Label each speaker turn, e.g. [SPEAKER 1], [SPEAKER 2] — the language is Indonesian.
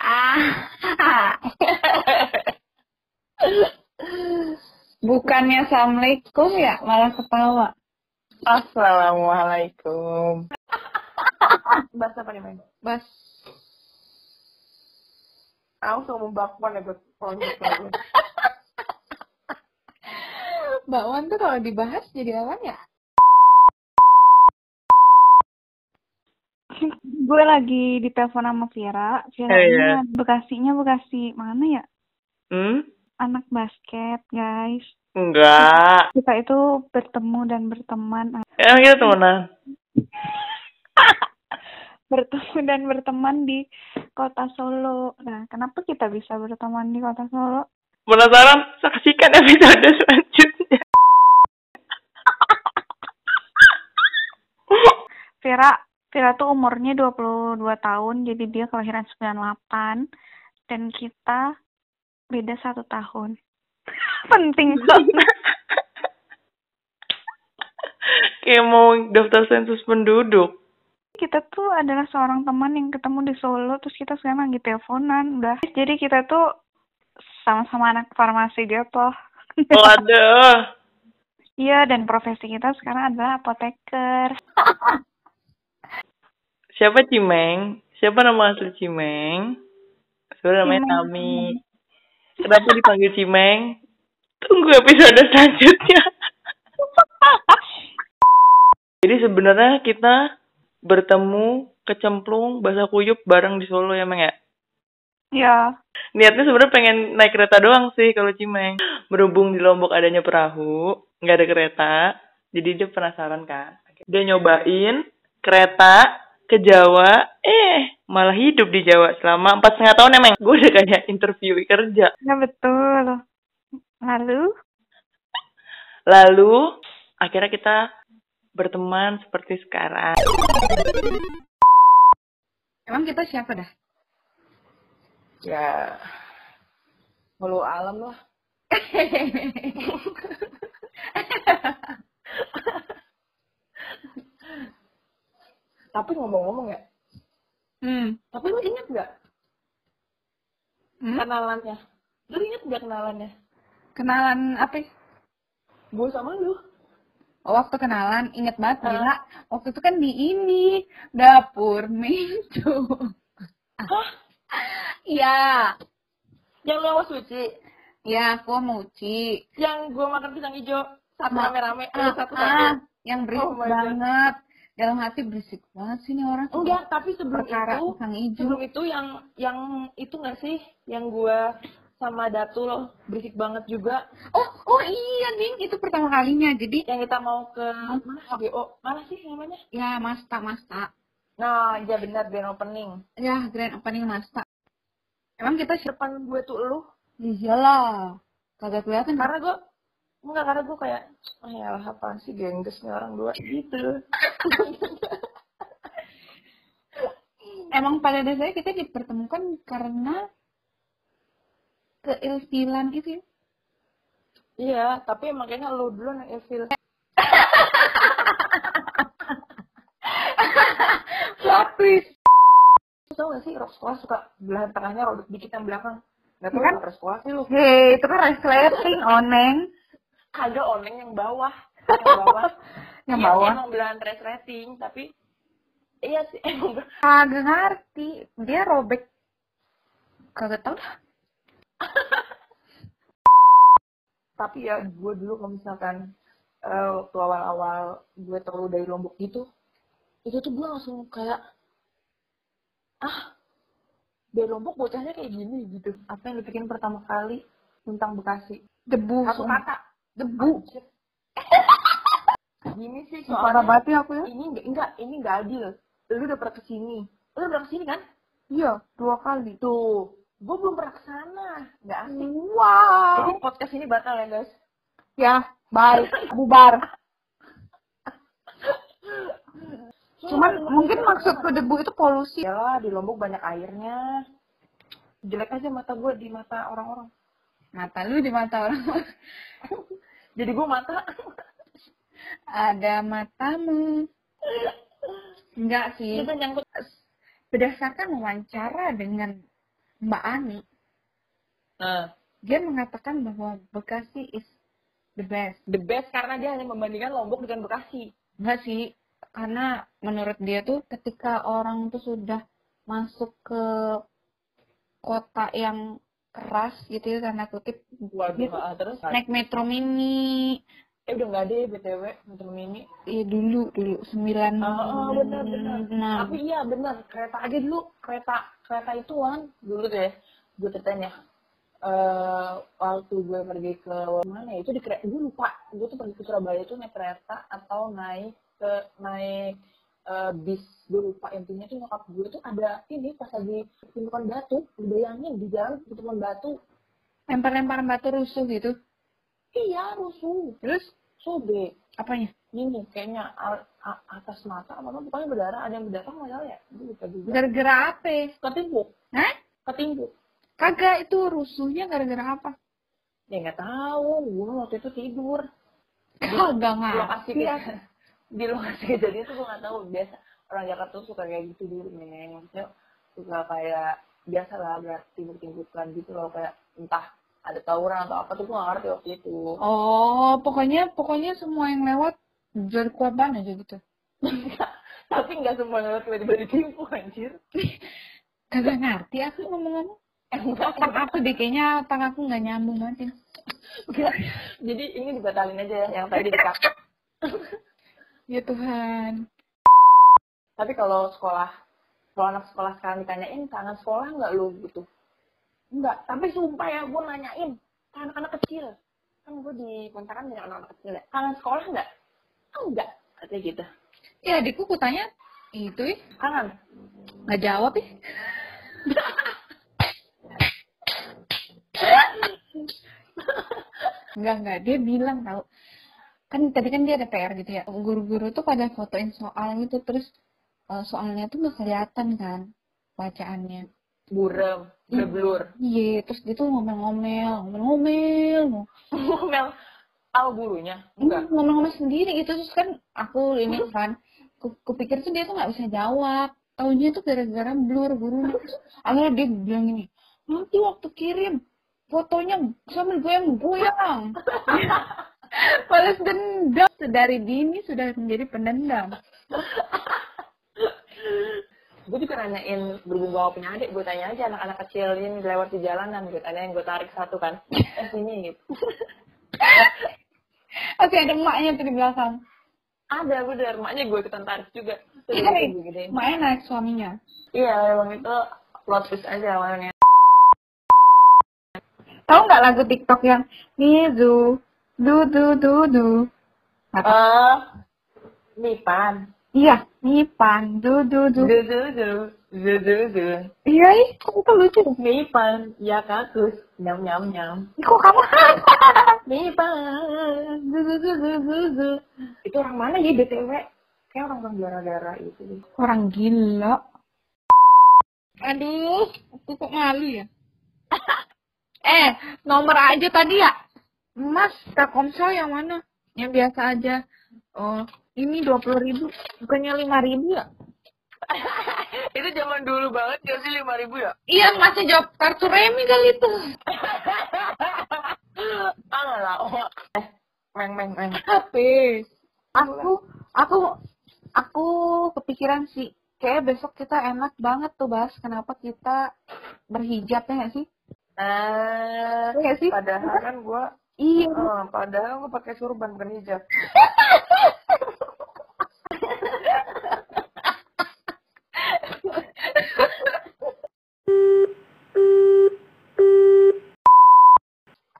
[SPEAKER 1] Ah. Bukannya assalamualaikum ya, malah ketawa.
[SPEAKER 2] Assalamualaikum. Bahas apa nih, Bang?
[SPEAKER 1] Bas,
[SPEAKER 2] Aku mau bakwan ya, buat project lagi.
[SPEAKER 1] bakwan tuh kalau dibahas jadi apa ya?
[SPEAKER 3] gue lagi ditelepon sama Vira. Vira
[SPEAKER 2] Eh,
[SPEAKER 3] ini
[SPEAKER 2] iya.
[SPEAKER 3] ad- Bekasinya Bekasi mana ya?
[SPEAKER 2] Hmm?
[SPEAKER 3] Anak basket, guys.
[SPEAKER 2] Enggak.
[SPEAKER 3] Kita itu bertemu dan berteman.
[SPEAKER 2] Emang kita temenan?
[SPEAKER 3] Bertemu dan berteman di kota Solo. Nah, kenapa kita bisa berteman di kota Solo?
[SPEAKER 2] Penasaran? Saksikan episode selanjutnya.
[SPEAKER 3] Vira, Vira tuh umurnya 22 tahun, jadi dia kelahiran 98. Dan kita beda satu tahun. Penting banget.
[SPEAKER 2] Kayak mau daftar sensus penduduk.
[SPEAKER 3] kita tuh adalah seorang teman yang ketemu di Solo terus kita sekarang lagi teleponan udah jadi kita tuh sama-sama anak farmasi jatuh
[SPEAKER 2] Waduh.
[SPEAKER 3] iya dan profesi kita sekarang adalah apoteker
[SPEAKER 2] Siapa Cimeng? Siapa nama asli Cimeng? Sebenarnya namanya
[SPEAKER 3] Cimeng.
[SPEAKER 2] Tami. Kenapa dipanggil Cimeng? Tunggu episode selanjutnya. Jadi sebenarnya kita bertemu kecemplung bahasa kuyup bareng di Solo ya Meng ya?
[SPEAKER 3] ya
[SPEAKER 2] Niatnya sebenarnya pengen naik kereta doang sih kalau Cimeng. Berhubung di Lombok adanya perahu, nggak ada kereta, jadi dia penasaran kan. Dia nyobain kereta ke Jawa, eh malah hidup di Jawa selama empat setengah tahun emang. Gue udah kayak interview kerja.
[SPEAKER 3] ya betul lalu
[SPEAKER 2] Lalu akhirnya kita berteman seperti sekarang.
[SPEAKER 1] Emang kita siapa dah?
[SPEAKER 2] Ya, mulu alam lah. Tapi ngomong-ngomong ya,
[SPEAKER 1] hmm.
[SPEAKER 2] tapi lu inget nggak
[SPEAKER 1] hmm?
[SPEAKER 2] kenalannya? Iya. Lu inget nggak kenalannya?
[SPEAKER 1] Kenalan apa?
[SPEAKER 2] Gue sama lu.
[SPEAKER 1] Oh, waktu kenalan inget banget gila. Waktu itu kan di ini dapur minggu. Iya,
[SPEAKER 2] Ah. Yang lu sama Suci,
[SPEAKER 1] iya aku mau uci.
[SPEAKER 2] yang gue makan pisang hijau satu
[SPEAKER 1] Ma-
[SPEAKER 2] rame-rame, eh,
[SPEAKER 1] Ah,
[SPEAKER 2] satu
[SPEAKER 1] ah,
[SPEAKER 2] satu.
[SPEAKER 1] yang berisik
[SPEAKER 2] Oh my God.
[SPEAKER 1] banget. Dalam hati berisik banget sih nih orang.
[SPEAKER 2] Enggak, tapi sebelum
[SPEAKER 1] perkara
[SPEAKER 2] itu,
[SPEAKER 1] sang hijau.
[SPEAKER 2] sebelum itu yang yang itu nggak sih, yang gue sama Datu loh berisik banget juga.
[SPEAKER 1] Oh, oh iya nih, itu pertama kalinya. Jadi
[SPEAKER 2] Yang kita mau ke mana HBO, mana sih namanya?
[SPEAKER 1] ya Masta Masta.
[SPEAKER 2] Nah, iya benar grand opening.
[SPEAKER 1] Ya, grand opening Masta. Emang kita siapa?
[SPEAKER 2] Depan gue tuh lu,
[SPEAKER 1] Iyalah. Kagak kelihatan.
[SPEAKER 2] karena gue enggak karena gue kayak ah ya apa sih gengges nih orang dua gitu
[SPEAKER 1] Emang pada dasarnya kita dipertemukan karena keilfilan itu ya.
[SPEAKER 2] iya tapi makanya lu dulu yang evil tau gak sih rok sekolah suka belahan tengahnya rodok dikit yang belakang nggak tau
[SPEAKER 1] Kan?
[SPEAKER 2] kan sekolah sih lu
[SPEAKER 1] Hei, itu kan resleting, oneng.
[SPEAKER 2] ada oneng yang bawah yang bawah
[SPEAKER 1] Yang
[SPEAKER 2] Iya,
[SPEAKER 1] bawah.
[SPEAKER 2] emang belahan dress rating tapi iya sih emang ber-
[SPEAKER 1] Kagak ngerti. Dia robek. Kagak tau dah.
[SPEAKER 2] tapi ya gue dulu kalau misalkan eh, waktu awal-awal gue terlalu dari lombok gitu itu tuh gue langsung kayak ah dari lombok bocahnya kayak gini gitu apa yang dipikirin pertama kali tentang bekasi
[SPEAKER 1] Debu.
[SPEAKER 2] aku
[SPEAKER 1] sumpah.
[SPEAKER 2] kata
[SPEAKER 1] Debu.
[SPEAKER 2] gini sih
[SPEAKER 1] Parah
[SPEAKER 2] soalnya
[SPEAKER 1] banget ya aku ya.
[SPEAKER 2] ini nggak- enggak ini nggak adil lu udah pernah kesini lu udah pernah kesini kan
[SPEAKER 1] Iya, dua kali.
[SPEAKER 2] tuh gue belum pernah kesana nggak asik
[SPEAKER 1] Hmm.
[SPEAKER 2] jadi
[SPEAKER 1] Wow.
[SPEAKER 2] podcast ini batal ya guys
[SPEAKER 1] Ya, bye. Bubar. Cuman mungkin maksudku debu itu polusi.
[SPEAKER 2] ya lah di lombok banyak airnya jelek aja mata gue di mata orang-orang
[SPEAKER 1] Mata lu di mata orang.
[SPEAKER 2] jadi gue mata
[SPEAKER 1] Ada matamu. Enggak sih.
[SPEAKER 2] kita nyangkut
[SPEAKER 4] Nah,
[SPEAKER 1] Berdasarkan wawancara dengan Mbak Ani, dia mengatakan bahwa Bekasi is the best.
[SPEAKER 4] The best karena dia hanya membandingkan Lombok dengan Bekasi.
[SPEAKER 1] Enggak sih, karena menurut dia tuh ketika orang tuh sudah masuk ke kota yang keras gitu ya tanda kutip
[SPEAKER 4] Waduh,
[SPEAKER 1] Gitu.
[SPEAKER 4] ah, terus
[SPEAKER 1] naik metro mini
[SPEAKER 4] eh udah nggak ada ya BTW metro mini.
[SPEAKER 1] Iya dulu dulu sembilan Nah,
[SPEAKER 4] Ah, ah, benar, benar.
[SPEAKER 1] enam.
[SPEAKER 4] Tapi iya benar, kereta aja dulu, kereta kereta itu kan dulu deh gue ceritain ya. Eh, waktu gue pergi ke mana ya, itu di kereta gue lupa gue tuh pergi ke Surabaya itu naik kereta atau naik ke naik eh, bis gue lupa intinya tuh nyokap gue tuh ada ini pas lagi tumpukan batu bayangin di jalan tumpukan batu
[SPEAKER 1] lempar-lempar batu rusuh gitu
[SPEAKER 4] iya rusuh
[SPEAKER 1] terus
[SPEAKER 4] sobek
[SPEAKER 1] apanya
[SPEAKER 4] ini kayaknya a- a- atas mata apa apa pokoknya berdarah ada yang berdarah nggak tahu ya gue lupa juga
[SPEAKER 1] gara-gara apa
[SPEAKER 4] ketimpuk
[SPEAKER 1] Hah?
[SPEAKER 4] ketimpuk
[SPEAKER 1] kagak itu rusuhnya gara-gara apa
[SPEAKER 4] ya nggak tahu gue waktu itu tidur
[SPEAKER 1] kagak
[SPEAKER 4] di lokasi
[SPEAKER 1] ngerti
[SPEAKER 4] di lokasi kejadian tuh gue nggak tahu biasa orang Jakarta tuh suka kayak gitu dulu neneng maksudnya suka kayak biasa lah berat timbuk timbukan gitu loh kayak entah ada tawuran atau apa tuh gue nggak ngerti waktu itu
[SPEAKER 1] oh pokoknya pokoknya semua yang lewat jadi korban aja gitu
[SPEAKER 4] tapi nggak semua yang lewat tiba-tiba ditimpuk anjir
[SPEAKER 1] kagak ngerti aku ngomong-ngomong
[SPEAKER 4] enggak
[SPEAKER 1] otak aku deh kayaknya otak aku nggak nyambung banget ya.
[SPEAKER 4] enggak jadi ini dibatalin aja ya yang tadi dikata
[SPEAKER 1] ya Tuhan
[SPEAKER 4] Tapi kalau sekolah, kalau anak sekolah sekarang ditanyain kangen sekolah nggak lu gitu? Nggak, tapi sumpah ya gue nanyain ke anak-anak kecil. Kan gue di kontrakan dengan anak-anak kecil ya. Kangen sekolah nggak? Enggak, katanya gitu.
[SPEAKER 1] ya adikku ku tanya itu ih
[SPEAKER 4] Kangen.
[SPEAKER 1] nggak jawab ih Enggak, enggak. Dia bilang tau. Kan tadi kan dia ada PR gitu ya. Guru-guru tuh pada fotoin soal gitu. Terus eh, soalnya tuh nggak kelihatan kan bacaannya.
[SPEAKER 4] Burem, berblur.
[SPEAKER 1] Iya, terus dia tuh ngomel-ngomel, ngomel-ngomel.
[SPEAKER 4] Ngomel al gurunya. Enggak. Hmm?
[SPEAKER 1] Ngomel-ngomel Hmm, sendiri gitu. Terus kan aku ini kan, ku- kupikir tuh dia tuh nggak bisa jawab. Taunya tuh gara-gara blur gurunya. Terus akhirnya dia bilang gini, nanti waktu kirim fotonya sambil goyang-goyang. Balas dendam dari dini sudah menjadi pendendam.
[SPEAKER 4] Gue juga nanyain berhubung bawa punya adik, gue tanya aja anak-anak kecil ini lewat di jalanan gitu. Ada yang gue tarik satu kan. Eh sini gitu.
[SPEAKER 1] Oke, ada emaknya tuh di belakang.
[SPEAKER 4] Ada bener, makanya gue ikutan tarik juga. Terus gue gedein.
[SPEAKER 1] Emaknya naik suaminya.
[SPEAKER 4] Iya, emang itu plot twist aja awalnya.
[SPEAKER 1] Tahu nggak lagu TikTok yang Nizu, du du du du.
[SPEAKER 4] Eh,
[SPEAKER 1] Apa?
[SPEAKER 4] Mipan.
[SPEAKER 1] Iya, Mipan, du du du.
[SPEAKER 4] Zuzuzu, zuzuzu.
[SPEAKER 1] Iya, ih, kok itu lucu.
[SPEAKER 4] Mipan, ya kakus, nyam nyam nyam.
[SPEAKER 1] Ih, Kok kamu
[SPEAKER 4] Mipan, zuzuzuzuzu. Itu orang mana ya BTW? Kayak orang-orang daerah-daerah itu. deh.
[SPEAKER 1] orang gila. Aduh, aku kok malu ya. eh, nomor aja tadi ya. Mas, Telkomsel yang mana? Yang biasa aja. Oh, ini dua puluh ribu, bukannya lima ribu ya?
[SPEAKER 4] itu zaman dulu banget gak sih 5000 ya?
[SPEAKER 1] Iya, masih jawab kartu remi kali itu.
[SPEAKER 4] Ah lah, oh. Eh, meng meng meng.
[SPEAKER 1] Habis. Aku, aku, aku kepikiran sih. Kayak besok kita enak banget tuh bahas kenapa kita berhijab ya nggak sih?
[SPEAKER 4] Eh,
[SPEAKER 1] Iya sih.
[SPEAKER 4] padahal kan gue
[SPEAKER 1] Iya,
[SPEAKER 4] Eh, padahal gue pakai surban bukan hijab.